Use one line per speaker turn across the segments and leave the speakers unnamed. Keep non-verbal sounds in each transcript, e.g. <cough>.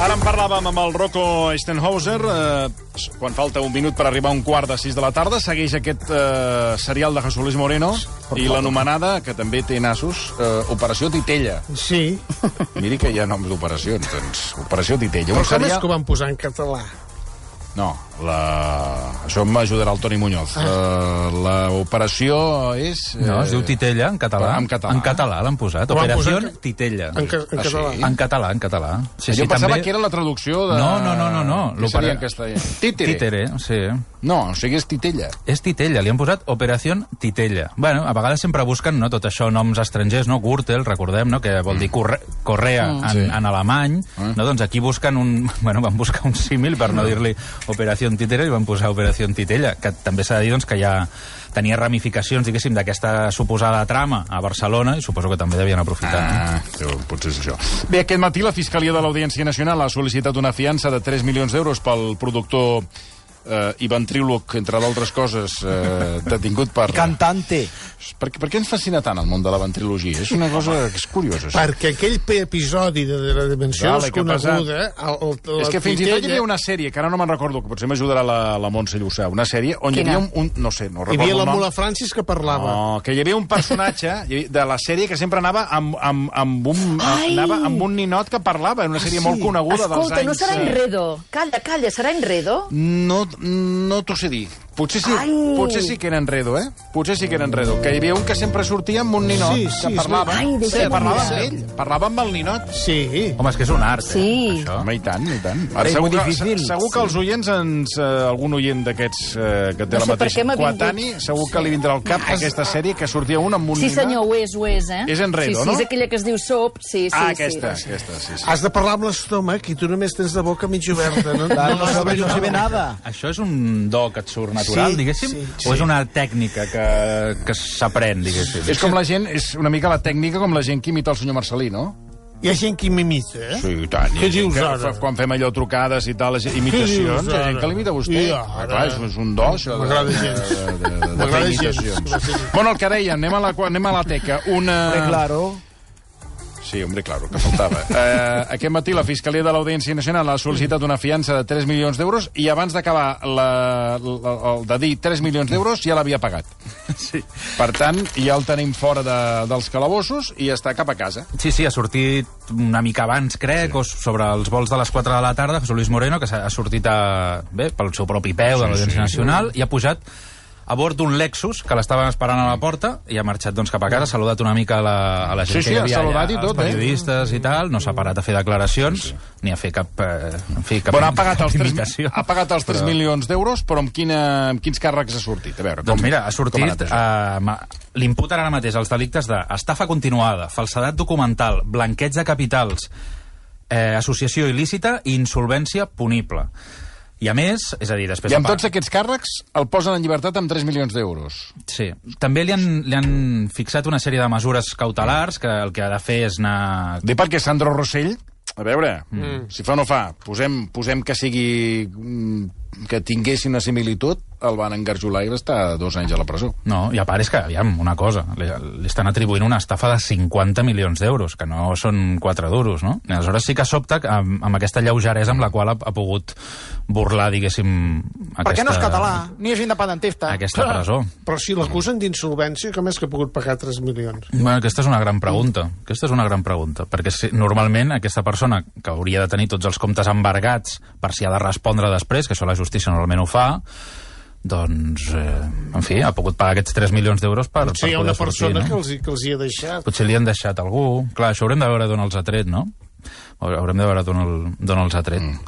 Ara en parlàvem amb el Rocco Stenhauser. Eh, quan falta un minut per arribar a un quart de sis de la tarda, segueix aquest eh, serial de Jesús Luis Moreno i l'anomenada, que també té nassos, eh, Operació Titella.
Sí,
Miri que hi ha noms d'operacions, doncs. Operació Titella.
però com és que ho van posar en català?
No, la... això m'ajudarà el Toni Muñoz. Ah. L'operació és...
No, es diu Titella, en català.
Eh, en català.
En català l'han posat.
Ho han
Operació
posat en-
Titella.
En, ca en
Ah, sí?
català.
En català, en català. Sí,
jo pensava que era la traducció de...
No, no, no, no, no.
Què seria
L'opera-
en castellà? Títere.
Títere, sí.
No, o sigui, és Titella.
És Titella, li han posat Operació Titella. bueno, a vegades sempre busquen no, tot això, noms estrangers, no? Gürtel, recordem, no? que vol dir corre correa en,
Mm. Sí. Ah.
en alemany. No? Doncs aquí busquen un... <laughs> Bueno, van buscar un símil per no dir-li Operació Titella i van posar Operació Titella, que també s'ha de dir doncs, que ja tenia ramificacions, diguéssim, d'aquesta suposada trama a Barcelona i suposo que també devien aprofitar. no?
Ah, deu, potser és això. Bé, aquest matí la Fiscalia de l'Audiència Nacional ha sol·licitat una fiança de 3 milions d'euros pel productor eh, i ventríloc, entre d'altres coses, eh, detingut per...
Cantante.
Per, per què ens fascina tant el món de la ventrilogia? És una cosa que és curiosa. això.
Perquè aquell pe- episodi de, de la dimensió
Vale, que ha
desconeguda... El, el, la
És que fins i tot hi
titella-
havia una sèrie, que ara no me'n recordo, que potser m'ajudarà la, la Montse Llussà, una sèrie on hi
Quina?
havia un, un... No sé, no
Hi
recordo
havia la
el nom.
Mula Francis que parlava.
No, Oh, que hi havia un
<laughs>
personatge hi havia- de la sèrie que sempre anava amb, amb, amb, un,
Ai! Ah,
anava amb un ninot que parlava, era una sèrie molt coneguda dels
Escolta,
anys...
no serà
eh,
enredo. Calla, calla, serà enredo?
No, no t'ho sé dir. Potser sí,
Ai!
potser sí que era enredo, eh? Potser sí que era enredo. Que hi havia un que sempre sortia amb un ninot
Sí,
que
sí,
parlava.
és
veritat. Ai,
sí,
deixa'm
parlava amb
mirar.
ell, parlava amb el ninot.
Sí.
Home, és que és un art,
Sí.
eh, això.
Home, Ah, i tant, i tant.
Ara és
segur,
molt
que,
difícil.
se- segur que els oients, ens, eh, algun oient d'aquests eh, que té la
No sé per
mateixa
què m'ha vingut.
coetani, segur que li vindrà al cap aquesta sèrie que sortia un amb un
Sí,
ninot.
senyor, ho és, ho és, eh?
És enredo,
sí, sí,
no?
és aquella que es diu sop, sí, sí.
Ah,
sí.
aquesta, aquesta, sí, sí.
Has de parlar amb l'estómac i tu només tens la boca mig oberta.
<laughs>
No,
Clar, no se ve- no se ve nada.
Això és un do que et surt natural,
Sí,
diguéssim?
sí,
O és una tècnica que, que s'aprèn, diguéssim?
És com la gent, és una mica la tècnica com la gent que imita el senyor Marcelí, no?
Hi ha gent que m'imita, eh?
Sí, i tant.
Què dius
que,
ara?
fa- Quan fem allò trucades i tal, les imitacions,
dius
hi ha gent
ara?
que l'imita vostè.
I
Ah,
ara?
clar, és, és un do, això. de-
M'agrada
de-
gens.
de- de- de fer
M'agrada gens.
imitacions.
M'agrada gens.
Bueno, el que deia, anem a la, qua- anem a la teca. Una...
Hombre, claro.
Sí, hombre, claro, que
<laughs>
faltava. Eh, aquest matí la Fiscalia de l'Audiència Nacional ha sol·licitat una fiança de 3 milions d'euros i abans d'acabar la- la- el de dir 3 milions d'euros ja l'havia pagat. Sí. Per tant, ja el tenim fora de, dels calabossos i està cap a casa.
Sí, sí, ha sortit una mica abans, crec, sí. o sobre els vols de les 4 de la tarda, José Luis Moreno, que s'ha- ha sortit a, bé, pel seu propi peu sí, de l'Audiència sí, Nacional, i ha pujat a bord d'un Lexus, que l'estaven esperant a la porta, i ha marxat doncs, cap a casa, ha saludat una mica a la, a la gent
Sí, sí,
que hi
ha
havia
saludat
allà,
i tot,
els periodistes eh? i tal, no s'ha parat a fer declaracions, sí, sí. ni a fer cap, eh, en fi, cap,
Bueno, ha pagat els 3,
imitació.
ha pagat els 3 milions d'euros, però amb, quina, amb quins càrrecs ha sortit? A veure,
Doncs mira, ha
com
sortit...
anat això?
Eh, ma- L'imputen ara mateix els delictes d'estafa continuada, falsedat documental, blanqueig de capitals, eh, associació il·lícita i insolvència punible. I a més, és a dir, després...
I amb
de
tots aquests càrrecs el posen en llibertat amb 3 milions d'euros.
Sí. També li han, li han fixat una sèrie de mesures cautelars que el que ha de fer és anar...
Dic perquè Sandro Rossell, a veure, mm. si fa o no fa, posem, posem que sigui mm, que tinguessi una similitud, el van engarjolar i va estar dos anys a la presó.
No, i a part és que, aviam, una cosa, li, li estan atribuint una estafa de 50 milions d'euros, que no són 4 duros, no? I aleshores sí que sobta que amb, amb aquesta lleugeresa amb la qual ha, ha pogut burlar, diguéssim, aquesta...
Per què no és català? Ni és independentista.
Aquesta presó.
Però si l'acusen d'insolvència, com és que ha pogut pagar 3 milions?
Bueno, aquesta és una gran pregunta. Aquesta és una gran pregunta, perquè si, normalment aquesta persona que hauria de tenir tots els comptes embargats per si ha de respondre després, que això la justícia normalment ho fa, doncs, eh, en fi, ha pogut pagar aquests 3 milions d'euros per,
Potser
per
hi ha
poder
una
sortir,
persona
no?
que els, hi- que els hi ha deixat.
Potser li han deixat algú. Clar, això haurem de veure d'on els ha tret, no? Haurem de veure d'on el, d'on els ha tret. Mm.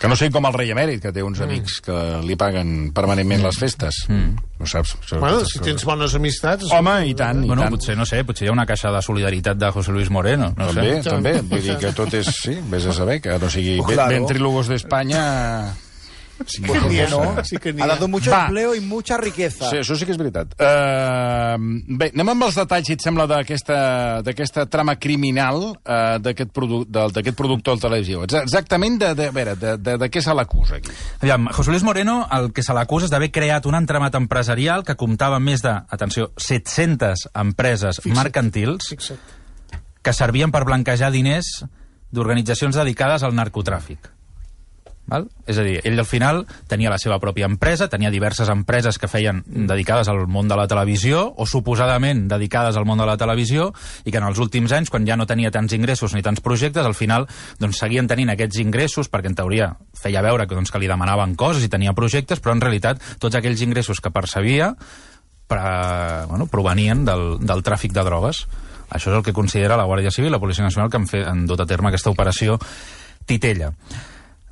Que no sé com el rei emèrit, que té uns amics que li paguen permanentment les festes. Mm. No saps? Això-
Bueno,
aquestes
si
coses.
tens bones amistats...
Home, i tant, i
Bueno,
tant.
potser, no sé, potser hi ha una caixa de solidaritat de José Luis Moreno. No
també,
sé.
també. Vull dir que tot és... Sí, vés a saber, que no sigui...
Pues
Claro.
claro.
Ventrílogos d'Espanya... Sí,
Pues
com
sí que
no.
no.
Sí que n'hi
ha
ha.
dado mucho
Va.
empleo y mucha riqueza.
Sí, això sí que és veritat. Uh, bé, anem amb els detalls, si et sembla, d'aquesta d'aquesta trama criminal uh, d'aquest produ del- d'aquest productor de televisió. Exa- Exactament de, de, a veure, de, de, de què se l'acusa aquí?
Aviam, José Luis Moreno, el que se l'acusa és d'haver creat un entramat empresarial que comptava amb més de, atenció, 700 empreses mercantils
Fixa't.
que servien per blanquejar diners d'organitzacions dedicades al narcotràfic. Val? És a dir, ell al final tenia la seva pròpia empresa, tenia diverses empreses que feien dedicades al món de la televisió, o suposadament dedicades al món de la televisió, i que en els últims anys, quan ja no tenia tants ingressos ni tants projectes, al final doncs, seguien tenint aquests ingressos, perquè en teoria feia veure que, doncs, que li demanaven coses i tenia projectes, però en realitat tots aquells ingressos que percebia pre, bueno, provenien del, del tràfic de drogues. Això és el que considera la Guàrdia Civil i la Policia Nacional que han, fet, han dut a terme aquesta operació Titella.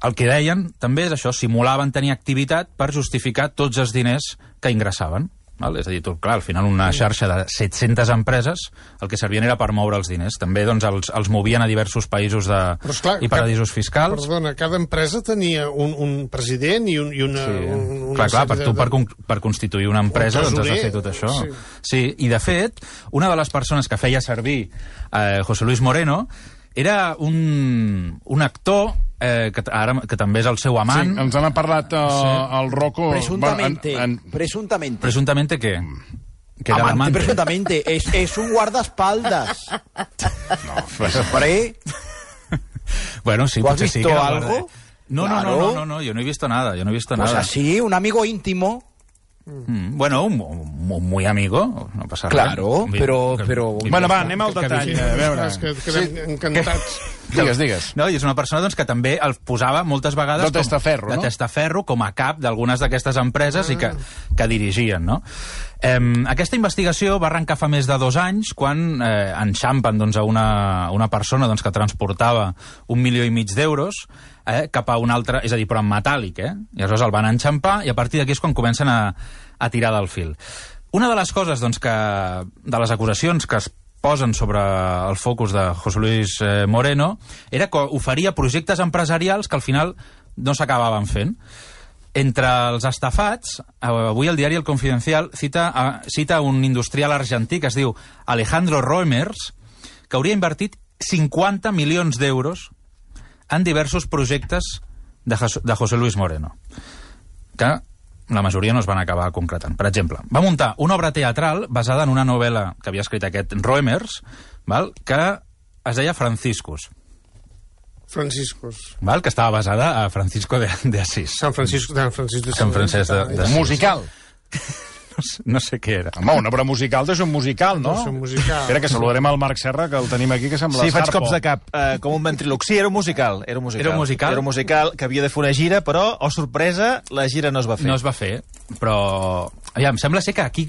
El que deien també és això, simulaven tenir activitat per justificar tots els diners que ingressaven. Val? És a dir, tu, clar, al final una xarxa de 700 empreses el que servien era per moure els diners. També doncs, els, els movien a diversos països de,
Però, esclar,
i paradisos
cap-
fiscals.
Perdona, cada empresa tenia un, un president i, un, i una...
Sí. eh.
un, una
clar, clar, per,
sèrie
tu,
de-
per, con per constituir una empresa
Un
doncs has de
tresorer.
fer tot això.
Sí.
Sí. sí. I, de fet, una de les persones que feia servir eh, José Luis Moreno era un, un actor eh, que, t- ara, que també és el seu
Sí,
amant.
ens n'ha parlat uh, el Rocco...
Presuntamente.
Bueno, en, en,
Presuntamente.
Presuntamente què? <laughs> Que era
Amante,
l'amante.
presuntamente. Es, es un
<laughs>
guardaespaldas. Pre.
Bueno, sí,
¿Tú has
potser sí
visto
que era
algo?
guarda- No, no, no,
Claro.
no, no, no, yo no he visto nada, yo no he visto
Pues
nada.
así, un amigo íntimo.
Mm, bueno, un, un- un muy amigo, no pasa
Claro,
res. Vi-
pero-
que-
pero-
que-
bueno, va, anem al
que- que
detall.
Sí,
vi-
A veure.
Ah, és que quedem encantats.
Digues, digues.
No, i és una persona doncs, que també el posava moltes vegades...
De testaferro,
com,
no?
De testaferro, com a cap d'algunes d'aquestes empreses i que,
Ah.
que dirigien, no? Eh, aquesta investigació va arrencar fa més de dos anys quan eh, enxampen doncs, a una, una persona doncs, que transportava un milió i mig d'euros eh, cap a un altre, és a dir, però en metàl·lic, eh? I aleshores el van enxampar i a partir d'aquí és quan comencen a, a tirar del fil. Una de les coses doncs, que, de les acusacions que es posen sobre el focus de José Luis eh, Moreno era que oferia projectes empresarials que al final no s'acabaven fent. Entre els estafats, eh, avui el diari El Confidencial cita, a, cita un industrial argentí que es diu Alejandro Roemers, que hauria invertit 50 milions d'euros en diversos projectes de, Jes- de José Luis Moreno que la majoria no es van acabar concretant. Per exemple, va muntar una obra teatral basada en una novel·la que havia escrit aquest Roemers, val? que es deia Franciscus,
Franciscos.
val? que estava basada a Francisco de, de Asís.
Sant Francisco, Sant Francisco de
Sant Francesc de- de-
Mus-
Musical.
No sé què era.
Home, una obra musical és un musical, no?
És un musical.
Espera, que saludarem al Marc Serra, que el tenim aquí, que sembla
Sí, faig
Sarpo.
cops de cap, eh, com un ventriloc. Sí, era un musical. Era un musical.
Era un musical?
Era un musical que havia de fer una gira, però, oh sorpresa, la gira no es va fer.
No es va fer, però... Ja, em sembla ser que aquí...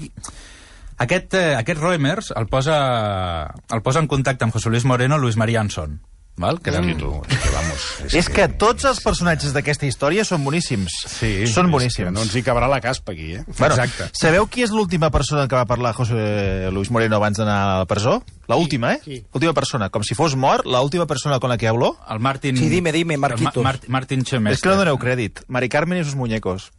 Aquest, eh, aquest Roemers el posa, el posa en contacte amb José Luis Moreno Luis María Anson. Val? Que eren-
Mm. És que tots els personatges d'aquesta història són boníssims.
Sí,
són
és
boníssims.
que No ens hi cabrà la caspa, aquí, eh?
Bueno,
Exacte.
Sabeu qui és l'última persona que va parlar José Luis Moreno abans d'anar a la presó? La última, eh?
Qui?
Última persona. Com si fos mort, la última persona con la que habló.
El Martin...
Sí, dime, dime,
el Ma-
Marquitos.
Mart- Martin Chemester.
És que no doneu crèdit. Mari Carmen i sus muñecos.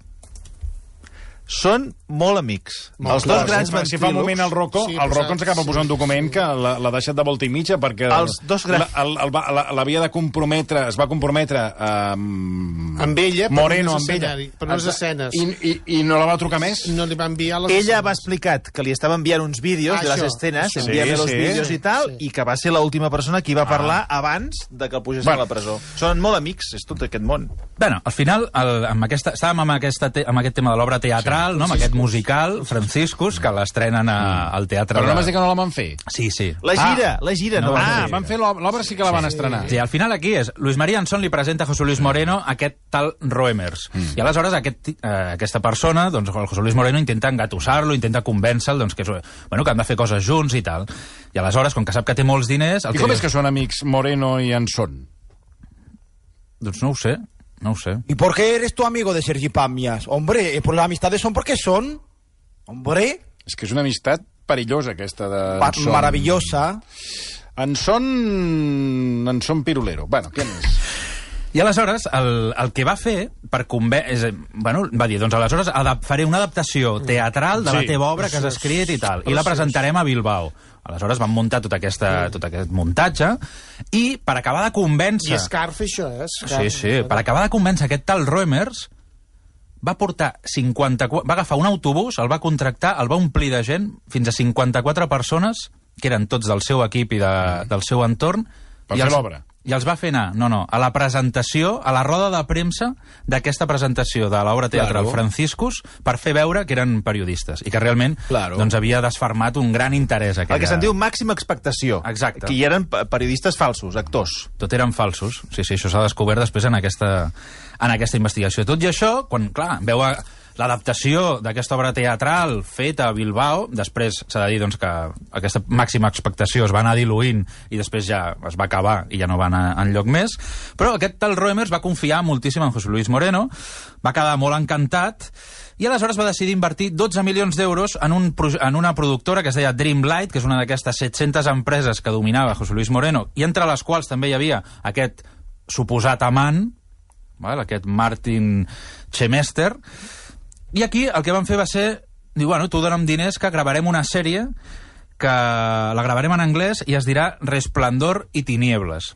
Són molt amics.
Molt
els
clar,
dos grans
si, fa, si fa un moment el Rocco,
Sí,
sí, el Rocco
pesats,
ens acaba
sí.
posant un document que la- l'ha deixat de volta i mitja perquè
Els dos grans-
la- el- el va- la- l'havia de comprometre, es va comprometre amb,
Amb ella, però
Moreno,
no és
amb ella.
escenari, però no és escenes.
I, i, I no la va trucar més?
No li va enviar les...
Ella va explicat que li estava enviant uns vídeos
Ah,
de les
això,
escenes,
això.
enviant
Sí,
els
sí.
vídeos i tal,
Sí.
i que va ser l'última persona que hi va parlar abans de que el posessin
Bueno.
a la presó. Són molt amics, és tot aquest món.
Bueno, al final, el, amb aquesta, estàvem amb, aquesta te, amb aquest tema de l'obra teatral, sí, no? amb aquest musical, Franciscus, que l'estrenen a- al teatre...
Però
de-
no m'has dit que no la van fer?
Sí, sí.
La gira, la gira no,
no,
va
ah,
Ah,
ser.
van fer l'obra, l'obra sí que la van estrenar.
Sí, al final aquí és, Luis María Anson li presenta a José Luis Moreno aquest tal Roemers. Mm. I aleshores aquest, ti- eh, aquesta persona, doncs el José Luis Moreno intenta engatussar-lo, intenta convèncer-lo doncs, que, és, bueno, que han de fer coses junts i tal. I aleshores, com que sap que té molts diners... El
I com
diu-
és que són amics Moreno i Anson?
Doncs no ho sé, no ho sé.
¿Y por qué eres tu amigo de Sergi Pamias? Hombre, eh, pues las amistades son porque son. Hombre,
És que és una amistat perillosa, aquesta de...
pa-
Anson.
maravillosa.
Anson... Anson Pirulero. Bueno, què més?
I aleshores, el, el que va fer per convé... És, a dir, bueno, va dir, doncs aleshores adap faré una adaptació teatral de la
Sí,
teva obra que has escrit i tal, i la presentarem a Bilbao. Aleshores van muntar tot, aquesta, tot aquest muntatge i per acabar de
I
convèncer...
Scarfe, això, eh?
Sí, sí, per acabar de convèncer aquest tal Roemers va portar 54... Va agafar un autobús, el va contractar, el va omplir de gent, fins a 54 persones, que eren tots del seu equip i de, del seu entorn.
Per
i
fer
els-
l'obra.
i els va fer anar, no, no, a la presentació, a la roda de premsa d'aquesta presentació de l'obra teatral
Claro.
Franciscus per fer veure que eren periodistes i que realment
Claro.
doncs, havia desfermat un gran interès. Aquella...
El que se'n diu màxima expectació.
Exacte.
Que hi eren pe- periodistes falsos, actors.
tot eren falsos. Sí, sí, això s'ha descobert després en aquesta, en aquesta investigació. Tot i això, quan, clar, veu a- l'adaptació d'aquesta obra teatral feta a Bilbao, després s'ha de dir doncs, que aquesta màxima expectació es va anar diluint i després ja es va acabar i ja no va anar enlloc més, però aquest tal Roemers va confiar moltíssim en José Luis Moreno, va quedar molt encantat i aleshores va decidir invertir 12 milions d'euros en, un, proj- en una productora que es deia Dreamlight, que és una d'aquestes 700 empreses que dominava José Luis Moreno, i entre les quals també hi havia aquest suposat amant, val? aquest Martin Chemester, i aquí el que van fer va ser dir, bueno, tu dona'm diners que gravarem una sèrie que la gravarem en anglès i es dirà Resplendor i Tinieblas.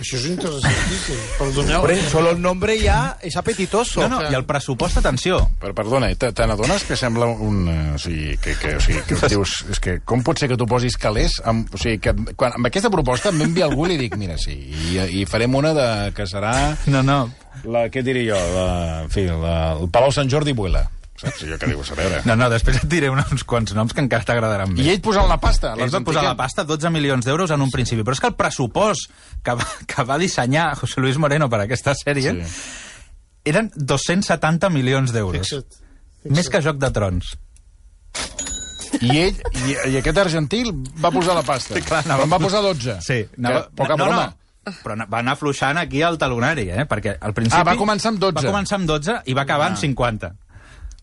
Això és interessantíssim. Perdoneu. eh,
Hombre, solo el nombre ya es apetitoso.
No, no, i el pressupost, atenció,
Però perdona, eh, te te n'adones que sembla un... eh, O sigui, que, que, o sigui, que dius... És que com pot ser que tu posis calés? Amb, o sigui, que quan, amb aquesta proposta m'envia algú i li dic, mira, sí, i, i farem una de, que serà...
no, no,
La, què diré jo? La, en fi, la, el Palau Sant Jordi Buela. Saps? Jo què dius, a veure...
No, no, després et diré uns, uns quants noms que encara t'agradaran
I
més.
ell posant la pasta.
Ells van posar la pasta, 12 milions d'euros en un principi, però és que el pressupost que va, que va dissenyar José Luis Moreno per a aquesta sèrie
Sí.
eren 270 milions d'euros.
Fixa't.
Més que Joc de Trons.
I ell, i, i aquest argentí, va posar la pasta.
clar, anava-
en va posar 12.
anava-
Que, poca
no,
broma.
No, però na- va anar afluixant aquí el talonari, eh? Perquè al principi...
Ah, va començar amb 12.
Va començar amb 12 i va acabar ah. amb 50.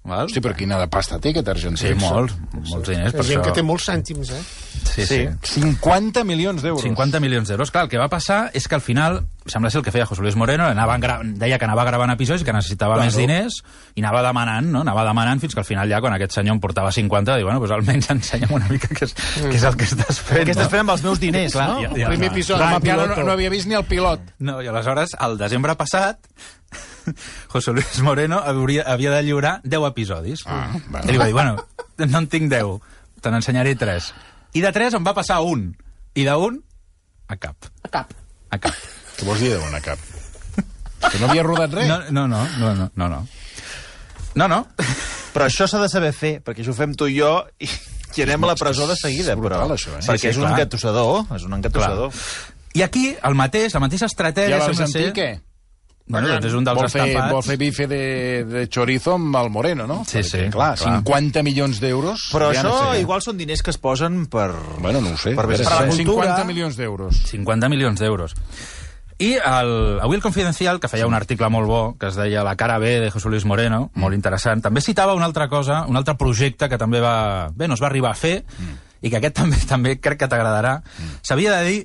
Val?
Hosti, però quina de pasta té aquest argentí.
sí, molts, molts diners.
Hi
Per
ha gent
això...
que té molts cèntims, eh?
Sí, sí. sí.
50 milions d'euros.
50 milions d'euros. Clar, el que va passar és que al final, sembla ser el que feia José Luis Moreno, anava gra... deia que anava gravant episodis, que necessitava claro. més diners, i anava demanant, no? anava demanant fins que al final ja, quan aquest senyor em portava 50, diu, bueno, doncs almenys ensenya'm una mica què és, què és el que estàs fent.
Què estàs fent amb els meus diners,
Clar,
no?
ja-
El primer
va.
episodi.
Clar,
Home,
encara
piloto.
no, no havia vist ni el pilot.
No, i aleshores, al desembre passat, <laughs> José Luis Moreno hauria, havia de lliurar 10 episodis.
Ah, bueno.
I li va dir, bueno, no en tinc 10, te n'ensenyaré 3. I de 3 em va passar un. I d'un, a cap.
A cap.
A cap.
Què vols dir d'una cap? Que no havia rodat res?
No, no, no, no, no, no. No, no. no.
Però això s'ha de saber fer, perquè això ho fem tu i jo i, i anem a la presó de seguida.
és brutal,
però,
això, eh?
Sí,
Perquè
sí,
és un
clar.
engatussador, és un engatussador.
I aquí, el mateix, la mateixa
I
estratègia...
a
sembla
l'Argentí
ser-
què?
Bueno, doncs és un dels
Vol fer,
estampats.
vol fer bife de, de chorizo amb el Moreno, no?
Sí, sí,
Clar,
clar.
50 milions d'euros.
Però
ja
això
no sé.
igual són diners que es posen per...
Bueno, no ho sé.
Per
A veure,
per la
són
cultura.
50 milions d'euros.
50 milions d'euros. I el, avui el Confidencial, que feia un article molt bo, que es deia La cara B de José Luis Moreno,
Mm.
molt interessant, també citava una altra cosa, un altre projecte que també va... Bé, no es va arribar a fer,
Mm.
i que aquest també també crec que t'agradarà. S'havia de dir...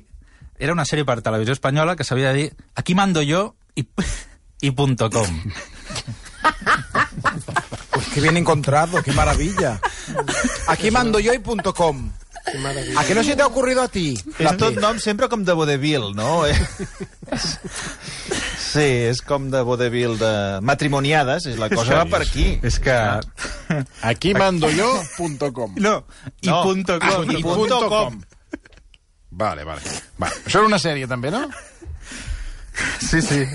Era una sèrie per televisió espanyola que s'havia de dir Aquí mando yo <laughs> i, i punto com.
Pues qué bien encontrado, qué maravilla. Aquí mando yo y punto com.
Que maravilla.
¿A qué no se te ha ocurrido a ti?
És tot nom sempre com de vodevil, no? Eh? Sí, és com de vodevil de matrimoniades, és la cosa va per aquí.
És que...
Aquí mando yo.com.
No, i
No.
punto
Ah,
com.
i punto com. Vale, vale. Va. Això era una sèrie, també, no?
Sí, sí.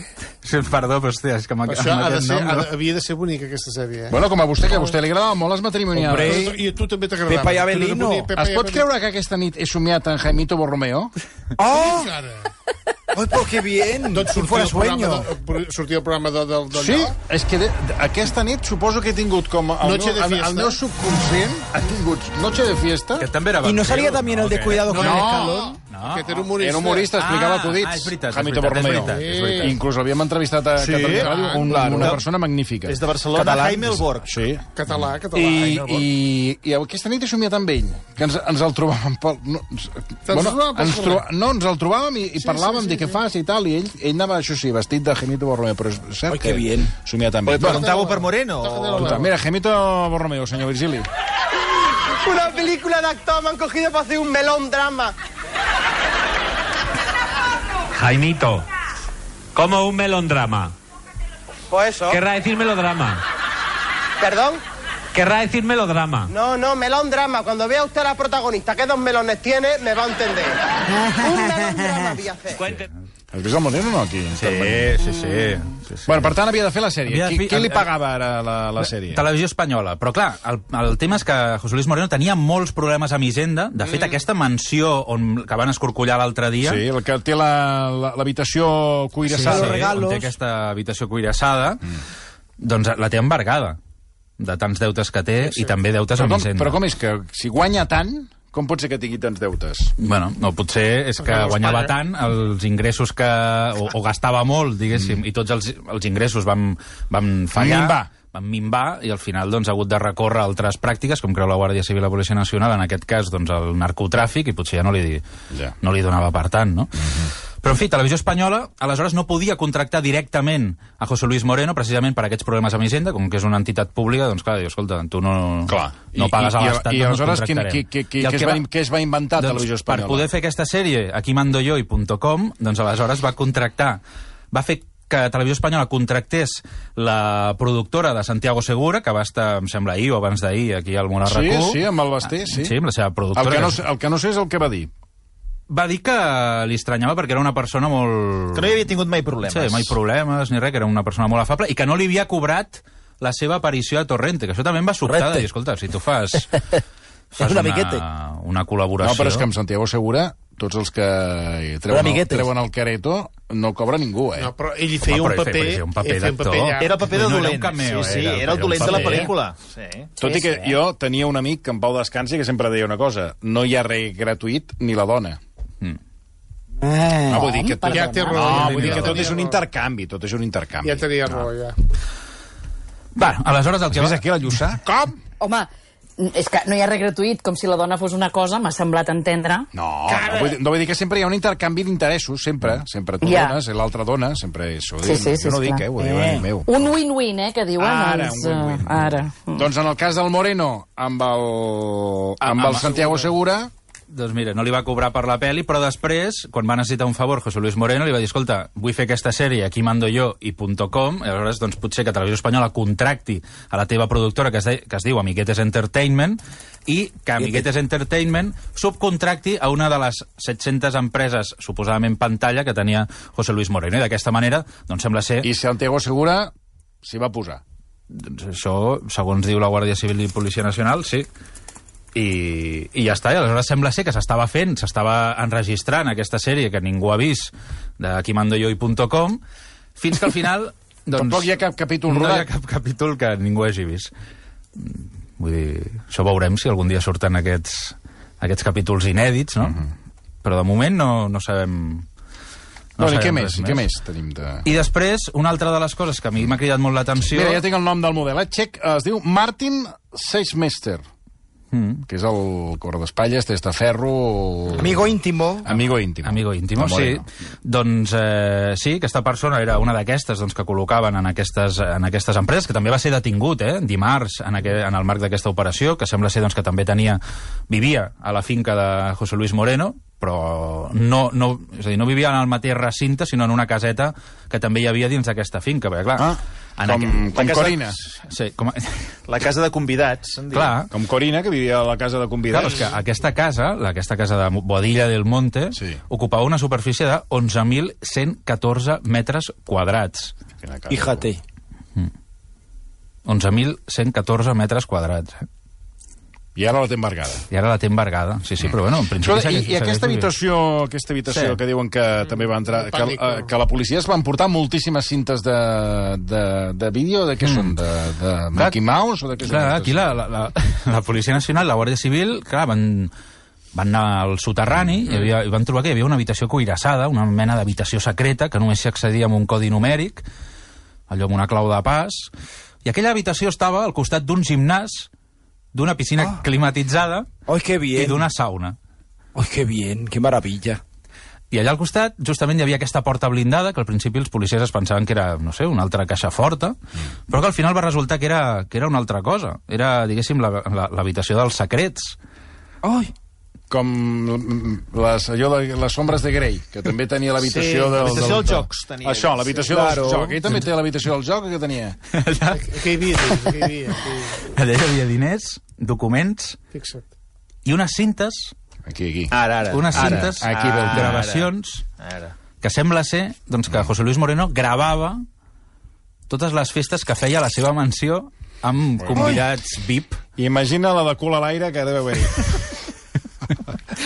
sí. Perdó, però hòstia, és que amb,
Però
aqu-
Això
amb
ha de
aquest
ser,
nom...
ha
No.
de, havia de ser bonica, aquesta sèrie. Eh?
Bueno, com a vostè, que a vostè li agradava molt les matrimoniades.
Hombre,
I a tu també t'agradava.
Pepa i Avelino.
Es pot creure que aquesta nit he somiat en Jaimito Borromeo?
¡Oh!
Ara.
¡Ay, pues qué bien!
Tot
Si
sortia
fuera
el programa,
sueño.
de, sortia el programa de, del... del
Sí, és que de, de- aquesta nit suposo que he tingut com... El,
Noche de
meu, el,
fiesta.
el meu subconscient ha tingut noche de fiesta.
Que també era
¿Y no
banquero,
salía también el de
Que-
cuidado con
No.
el escalón?
No.
Aquest era humorista.
Era humorista, explicava
Ah,
acudits.
ah, és veritat, és
Jaimito
veritat, és
Borromeo.
veritat, és
veritat.
Inclús l'havíem entrevistat a
Sí,
Catalunya
ah,
Ràdio, un,
claro.
una persona magnífica.
És de Barcelona,
Catalans.
Jaime el Borg.
Sí.
Català, català.
I,
Ai, no,
i, I aquesta nit he somiat amb ell, que ens, ens el trobàvem pel... No, ens,
trobàvem pel
ens
carrer.
troba, no, ens el trobàvem i, i sí, parlàvem sí, sí, de què sí. fas i tal, i ell, ell anava, això sí, vestit de Gemito Borromeo, però és cert
Ai, que bien.
somia també.
Però preguntàveu per Moreno? o-
Total, mira, Gemito Borromeo, senyor Virgili.
Una película de actor me han cogido para hacer un melón drama.
Jaimito, como un melondrama.
Pues eso.
Querrá decir melodrama.
¿Perdón?
Querrá decir melodrama.
No, no, melón drama. Cuando vea usted a la protagonista que dos melones tiene, me va a entender. Un melón drama voy a hacer.
Cuente.
Has vist el Moreno, no, aquí?
Sí, sí, sí. sí, sí.
Bueno, per tant, havia de fer la sèrie.
Havia de
Qui,
fer-
qui li
havia-
pagava ara la, la sèrie?
Televisió espanyola. Però clar, el, el tema és que José Luis Moreno tenia molts problemes amb Hisenda. De fet, mm. aquesta mansió on, que van escorcollar l'altre dia...
Sí, el que té la- la- l'habitació cuirassada.
Sí, sí. regalos.
on té aquesta habitació cuirassada, mm. doncs la té embargada de tants deutes que té sí. i també deutes
Però,
amb
com,
Hisenda.
però com és que si guanya tant, com pot ser que tingui tants deutes?
Bueno, no, potser és que
Perquè no es
guanyava
paga.
tant els ingressos que... o, o gastava molt, diguéssim, mm. i tots els, els ingressos van, van fallar.
Minvar.
Van minvar i al final doncs, ha hagut de recórrer a altres pràctiques, com creu la Guàrdia Civil i la Policia Nacional, en aquest cas doncs, el narcotràfic, i potser ja no li,
Ja. Mm-hmm.
no li donava per tant, no? Però, en fi, Televisió Espanyola aleshores no podia contractar directament a José Luis Moreno precisament per aquests problemes amb Hisenda, com que és una entitat pública, doncs clar, diu, escolta, tu no,
Clar.
no
I-
pagues
i-
a
i-
l'Estat,
i
doncs no et
aleshores quin-
contractarem.
qui- qui- qui-
I el
què es
que
va- què es va inventar Televisió Espanyola?
Doncs, Per poder fer aquesta sèrie, Aquí mando yo i .com, doncs aleshores va contractar, va fer que Televisió Espanyola contractés la productora de Santiago Segura, que va estar, em sembla, ahir o abans d'ahir, aquí al Molar
Sí,
RAC1.
sí, amb el Basté, sí.
Ah, Sí, amb la seva productora.
El que, no, el que no sé és el que va dir.
Va dir que li estranyava perquè era una persona molt...
Que no hi havia tingut mai problemes.
Sí, mai problemes ni res, que era una persona molt afable i que no li havia cobrat la seva aparició a Torrente, que això també em va sobtar de
Torrente.
dir, escolta, si tu
<laughs>
fas... fas
Una miqueta.
una col·laboració...
No, però és que amb Santiago Segura, tots els que treuen, el,
amiguetes.
treuen el careto no cobra ningú, eh?
No, Ah, però ell hi feia
Home,
un
però hi
paper...
feia un
ell
paper
feia un
d'actor.
paper llarg.
Era el paper de
No, no era un
dolent.
cameo,
sí, sí,
era-
era,
era
el
un
dolent de la
paper.
pel·lícula. Sí.
Tot i que jo tenia un amic que em pau descansi que sempre deia una cosa, no hi ha res gratuït ni la dona.
Ah.
No, vull dir que tot,
Ja té raó.
no,
ja
vull dir que
tenia
tot és
raó.
un intercanvi, tot és un intercanvi.
Ja tenia raó, ja.
Bueno, aleshores el que
Ves
va...
aquí a la Lluçà?
<laughs>
Com?
Home, és que no hi ha res gratuït, com si la dona fos una cosa, m'ha semblat entendre.
No, no vull, dir, no vull dir que sempre hi ha un intercanvi d'interessos, sempre. Sempre tu
Ja.
dones, i l'altra dona, sempre és... Ho
Sí, sí, sí,
jo no ho dic,
esclar.
eh, ho diu l'amic meu.
Un win-win, eh, que diuen.
Ara,
els,
un win-win.
eh, Ara.
Doncs en el cas del Moreno, amb el, amb el Santiago Segura,
Doncs mira, no li va cobrar per la peli, però després, quan va necessitar un favor José Luis Moreno, li va dir, escolta, vull fer aquesta sèrie aquí mando jo i .com, i aleshores doncs, potser que Televisió Espanyola contracti a la teva productora, que es, de, que es diu Amiguetes Entertainment, i que Amiguetes Entertainment subcontracti a una de les 700 empreses, suposadament pantalla, que tenia José Luis Moreno. I d'aquesta manera, doncs sembla ser...
i Santiago Segura s'hi va posar.
Doncs això, segons diu la Guàrdia Civil i Policia Nacional, sí. I, i ja està, i aleshores sembla ser que s'estava fent, s'estava enregistrant aquesta sèrie que ningú ha vist de quimandoyoi.com fins que al final
<laughs>
doncs,
Tampoc hi ha cap capítol
no hi ha
rodat.
cap capítol que ningú hagi vist Mm, vull dir, això veurem si algun dia surten aquests, aquests capítols inèdits no? però de moment no, no sabem
No, no, Mhm. I
sabem
què
res
més? I què més tenim de...
i després, una altra de les coses que a mi m'ha cridat molt l'atenció...
Mira, ja tinc el nom del model. Eh? Txec, eh, es diu Martin Seixmester,
Mm.
que és el guardaespatlles, testaferro...
Amigo íntimo.
Amigo íntimo.
Amigo íntimo,
De
sí.
Moreno.
Doncs eh, sí, aquesta persona era una d'aquestes doncs, que col·locaven en aquestes, en aquestes empreses, que també va ser detingut eh, dimarts en, aquest, en el marc d'aquesta operació, que sembla ser doncs, que també tenia vivia a la finca de José Luis Moreno, però no, no, és a dir, no vivia en el mateix recinte, sinó en una caseta que també hi havia dins d'aquesta finca, perquè clar...
Ah,
en
com,
aquest-
com
la casa-
Corina.
Sí, com... a-
La casa de convidats. en diuen.
clar,
Com Corina, que vivia a la casa de
Clar,
convidats.
és que aquesta casa, la- aquesta casa de Boadilla del Monte,
Sí.
ocupava una superfície de 11.114 metres quadrats.
Quina casa.
Fíjate.
11.114 metres quadrats. eh?
I ara la té embargada.
I ara la té embargada. Sí, sí, però bueno, en principi...
Mm. Escolta, i,
segueix-
I aquesta
segueix-
habitació, aquesta habitació
Sí.
sí. que diuen que també va entrar... Que,
Pànico.
eh, que la policia es van portar moltíssimes cintes de, de, de vídeo, de què mm. són? De, de Mickey Mouse? O de què són
Clar,
aquestes?
aquí la, la, la, la Policia Nacional, la Guàrdia Civil, clar, van, van anar al soterrani i, havia, i van trobar que hi havia una habitació cuirassada, una mena d'habitació secreta, que només s'hi accedia amb un codi numèric, allò amb una clau de pas, i aquella habitació estava al costat d'un gimnàs, d'una piscina ah. climatitzada
Ay, qué
i
bien.
d'una sauna.
Ay, qué bien. Qué maravilla.
I allà al costat, justament, hi havia aquesta porta blindada, que al principi els policies es pensaven que era, no sé, una altra caixa forta, però que al final va resultar que era, que era una altra cosa. Era, diguéssim, la- la- l'habitació dels secrets.
Ay.
com les, allò de les sombres de Grey, que també tenia l'habitació
Sí,
del...
l'habitació
del-
dels jocs tenia
Això,
ell,
l'habitació
sí.
dels
Claro.
jocs. Ell també té l'habitació del joc, que tenia?
Allà,
Què hi havia, dins? Què hi havia? Què hi havia?
allà hi havia diners, documents
Fixa't.
i unes cintes,
Aquí, aquí.
Ara, ara.
unes
ara,
cintes,
aquí veu
ara,
gravacions,
Ara.
que sembla ser doncs, que José Luis Moreno gravava totes les festes que feia a la seva mansió amb convidats VIP.
Imagina la de cul a l'aire que deu haver-hi. <laughs>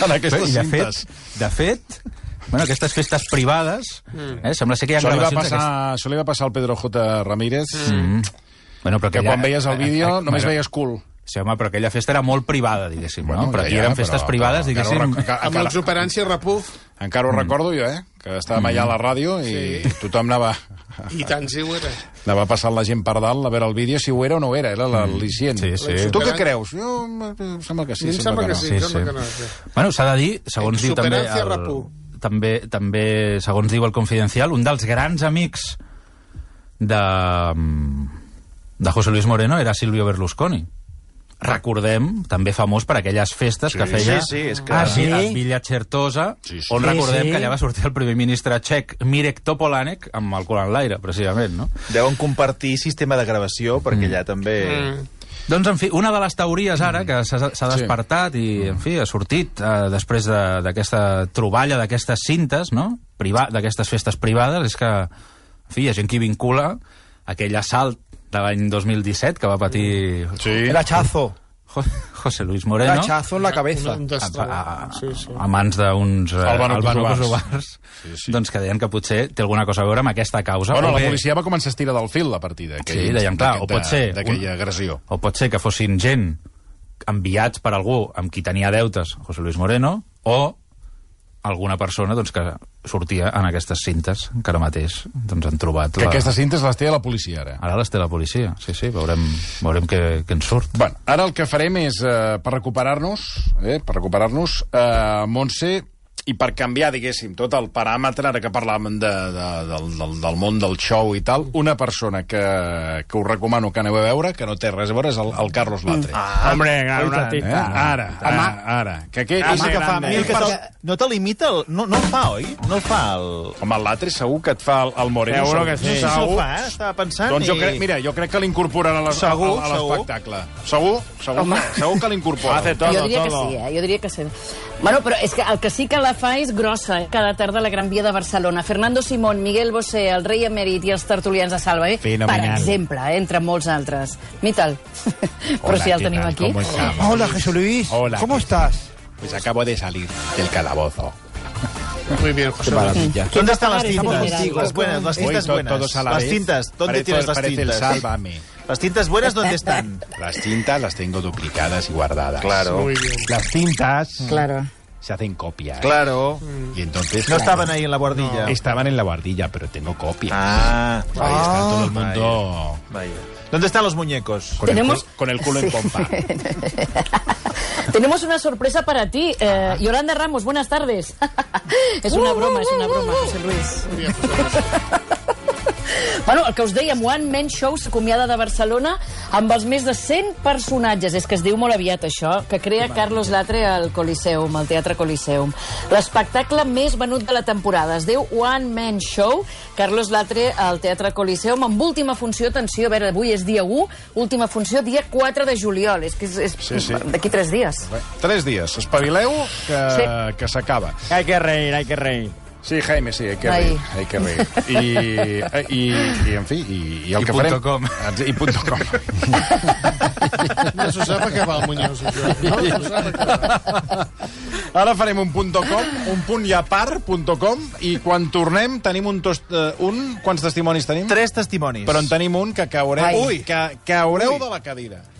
en aquestes
I de
cintes.
fet, de fet, bueno, aquestes festes privades, eh, sembla ser que hi ha
Això li, va
gravacions...
passar, això li va passar al Pedro J. Ramírez, mm.
d'aquest- Bueno, però
que
aquella-
quan veies el vídeo
eh,
només
bueno,
veies cul.
Sí, home, però aquella festa era molt privada, diguéssim, bueno, no? Però aquí
ja,
eren festes
però-
privades,
però encara ho
diguéssim...
rec- encara-
Amb
encara-
l'exuperància Rapuf
Encara
Mm.
ho recordo jo, eh? Que estàvem allà a la ràdio i tothom anava,
i tant si ho <laughs> era.
anava passant la gent per dalt a veure el vídeo si ho era o no ho era, era l'al·licient.
Mm. Sí, sí.
Tu què creus? Jo, em sembla que
Sí,
sí.
em sembla que
no.
sí,
Sí,
em sembla
sí.
que no. sí.
Bueno, s'ha de dir, segons diu també...
Exuperància rapú.
també, també, segons diu el Confidencial, un dels grans amics de, de José Luis Moreno era Silvio Berlusconi. Recordem, també famós per aquelles festes sí, que feia
sí, sí, és que-
a,
Ah, sí?
Vi- a Villa Certosa,
Sí, sí.
on
Sí,
recordem
sí.
que allà va sortir el primer ministre txec Mirek Topolanek amb el cul en l'aire, precisament, no?
Deuen compartir sistema de gravació, perquè allà també... Mm.
Doncs, en fi, una de les teories ara que s'ha s'ha
Sí.
despertat i, en fi, ha sortit eh, després de- d'aquesta troballa, d'aquestes cintes, no?, Priva d'aquestes festes privades, és que, en fi, hi ha gent que hi vincula aquell assalt de l'any 2017 que va patir
Mm. Sí.
El hachazo.
Jo- José Luis
El
Moreno
hachazo en la cabeza.
Un
a,
destre.
a,
Sí, sí.
a mans d'uns eh,
Albano Kosovars.
Kosovars, doncs que deien que potser té alguna cosa a veure amb aquesta causa.
Bueno,
o
la
bé-
policia va començar a estirar del fil a partir d'aquell-
Sí, deien, clar, o pot ser
d'aquella
un-
agressió.
O pot ser que fossin gent enviats per algú amb qui tenia deutes, José Luis Moreno, o alguna persona doncs, que sortia en aquestes cintes que ara mateix doncs, han trobat.
Que aquestes cintes les té la policia ara.
Ara les té la policia, sí, sí, veurem, veurem què, què en surt.
Bueno, ara el que farem és, eh, per recuperar-nos, eh, per recuperar-nos, eh, Montse, i per canviar, diguéssim, tot el paràmetre, ara que parlàvem de, de, del, del, del món del show i tal, una persona que, que us recomano que aneu a veure, que no té res a veure, és el, el Carlos Latre. Ah, hombre, ara, eh? ara, ara, ara, que aquest
Ah, sí que fa
grande.
mil que se'l- No te limita el... No, no el fa, oi? No el fa el...
Home, el Latre segur que et fa el, el Moreno. Segur que
No sé si el fa, eh? estava pensant
Doncs jo
i-
crec, mira, jo crec que l'incorporen a les- a-
Segur,
a
segur.
l'espectacle. Segur, segur, segur, segur que l'incorporen. Hace
jo diria que sí, eh? jo diria que sí. Bueno, però és que el que sí que la fa és grossa. eh? Cada tarda a la Gran Via de Barcelona. Fernando Simón, Miguel Bosé, el rei emèrit i els tertulians de Salva, eh?
Fenomenal.
per exemple, eh? entre molts altres. Mital, però si ja el tenim aquí.
Hola, Jesús Luis.
Hola.
¿Cómo estás?
Pues acabo de salir del calabozo.
Muy bien, José.
¿Dónde están las
Parece
tintas?
general.
Las buenas, las
Voy
tintas
to-
buenas.
todos a la
las
vez.
tintas, ¿dónde
Parece-
tienes las
parece el
tintas?
Sálvame.
Las tintas buenas, ¿dónde están?
Las cintas las tengo duplicadas y guardadas. Claro.
Muy bien.
Las
Mm.
cintas
Claro.
se hacen copias.
Claro.
Y entonces
No estaban ahí en la guardilla.
estaban en la bardilla, pero tengo copias.
Ah,
Ahí está todo el mundo
vaya. ¿Dónde están los muñecos?
con, el,
Tenemos-
cu- con el culo en pompa.
<laughs>
Tenemos una sorpresa para ti. Eh, Yolanda Ramos, buenas tardes. <laughs> es una broma, es una broma, José Luis. Bueno, el que us dèiem, One Man Show s'acomiada de Barcelona amb els més de 100 personatges. És que es diu molt aviat això, que crea Carlos Latre al Coliseum, al Teatre Coliseum. L'espectacle més venut de la temporada. Es diu One Man Show, Carlos Latre al Teatre Coliseum, amb última funció, atenció, a veure, avui és dia 1, última funció dia 4 de juliol. És que és, és
Sí, sí.
d'aquí tres dies.
Tres días. Espabileu que,
Sí.
que s'acaba.
Hay que reír, hay que reír.
Sí, Jaime, sí, hay que
Ahí.
reír. Hay que
<laughs>
reír. eh, I, i, i en fi, i, i el
I
que
punto
farem...
com.
I punto com.
No s'ho sap a què va el Muñoz. això. <laughs> No, s'ho sap a què va.
<laughs> Ara farem un punt .com, un punt i a part, punt .com, i quan tornem tenim un, tost, eh, un... Quants testimonis tenim?
Tres testimonios.
Però en tenim un que caureu,
Ai.
Ui, que caureu de la cadira.